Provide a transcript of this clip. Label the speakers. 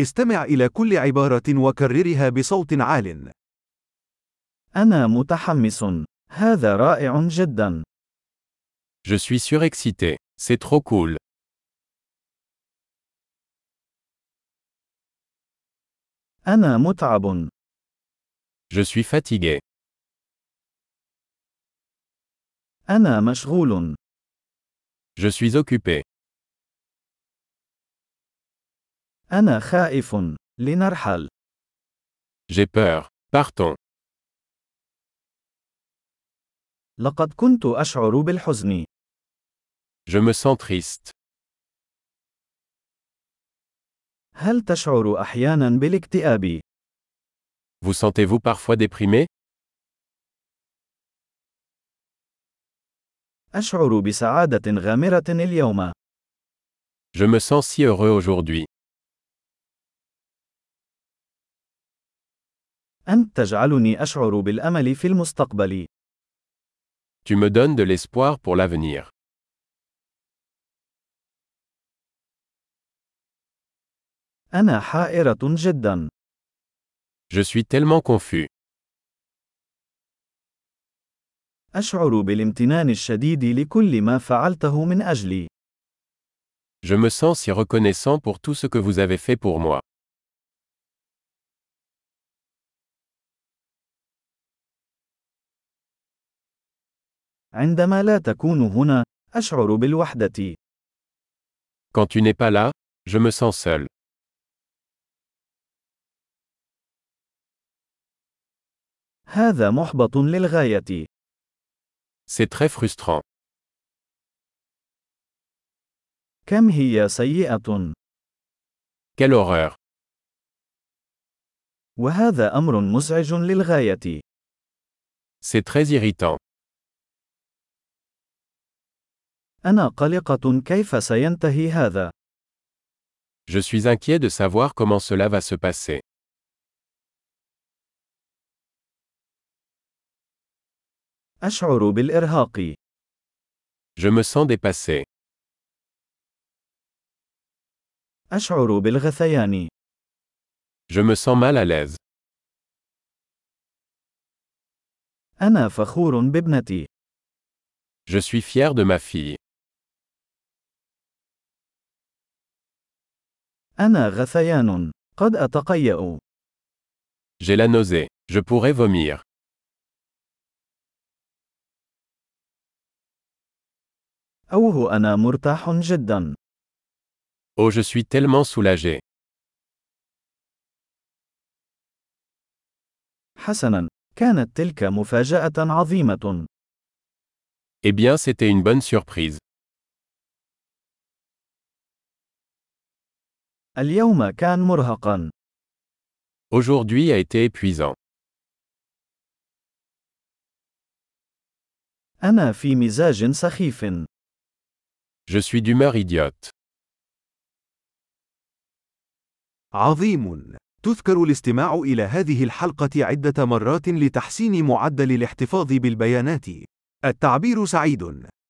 Speaker 1: استمع إلى كل عبارة وكررها بصوت عال.
Speaker 2: أنا متحمس. هذا رائع جدا.
Speaker 3: Je suis surexcité. C'est trop cool.
Speaker 2: أنا متعب.
Speaker 3: Je suis fatigué.
Speaker 2: أنا مشغول.
Speaker 3: Je suis occupé.
Speaker 2: أنا خائف. لنرحل.
Speaker 3: J'ai peur. Partons.
Speaker 2: لقد كنت أشعر بالحزن.
Speaker 3: Je me sens triste.
Speaker 2: هل تشعر أحيانا بالاكتئاب؟
Speaker 3: Vous sentez-vous parfois déprimé
Speaker 2: أشعر بسعادة غامرة اليوم.
Speaker 3: Je me sens si heureux aujourd'hui.
Speaker 2: أنت تجعلني أشعر بالأمل في المستقبل.
Speaker 3: Tu me donnes de l'espoir pour l'avenir.
Speaker 2: أنا حائرة جدا.
Speaker 3: Je suis tellement confus.
Speaker 2: أشعر بالامتنان الشديد لكل ما فعلته من أجلي.
Speaker 3: Je me sens si reconnaissant pour tout ce que vous avez fait pour moi.
Speaker 2: عندما لا تكون هنا، أشعر بالوحدة.
Speaker 3: Quand tu n'es pas là, je me sens seul.
Speaker 2: هذا محبط للغاية.
Speaker 3: C'est très frustrant.
Speaker 2: كم هي سيئة.
Speaker 3: Quelle horreur.
Speaker 2: وهذا أمر مزعج للغاية.
Speaker 3: C'est très irritant.
Speaker 2: أنا قلقة كيف سينتهي هذا.
Speaker 3: Je suis inquiet de savoir comment cela va se passer.
Speaker 2: أشعر بالإرهاق.
Speaker 3: Je me sens dépassé.
Speaker 2: أشعر بالغثيان.
Speaker 3: Je me sens mal à l'aise.
Speaker 2: أنا فخور بابنتي.
Speaker 3: Je suis fier de ma fille.
Speaker 2: أنا غثيان. قد أتقيأ.
Speaker 3: J'ai la nausée. Je pourrais vomir.
Speaker 2: أوه أنا مرتاح جدا.
Speaker 3: Oh, je suis tellement soulagé.
Speaker 2: حسنا، كانت تلك مفاجأة عظيمة.
Speaker 3: Eh bien, c'était une bonne surprise.
Speaker 2: اليوم كان مرهقا.
Speaker 3: Aujourd'hui a été épuisant.
Speaker 2: أنا في مزاج سخيف.
Speaker 3: Je suis d'humeur idiote.
Speaker 1: عظيم. تذكر الاستماع إلى هذه الحلقة عدة مرات لتحسين معدل الاحتفاظ بالبيانات. التعبير سعيد.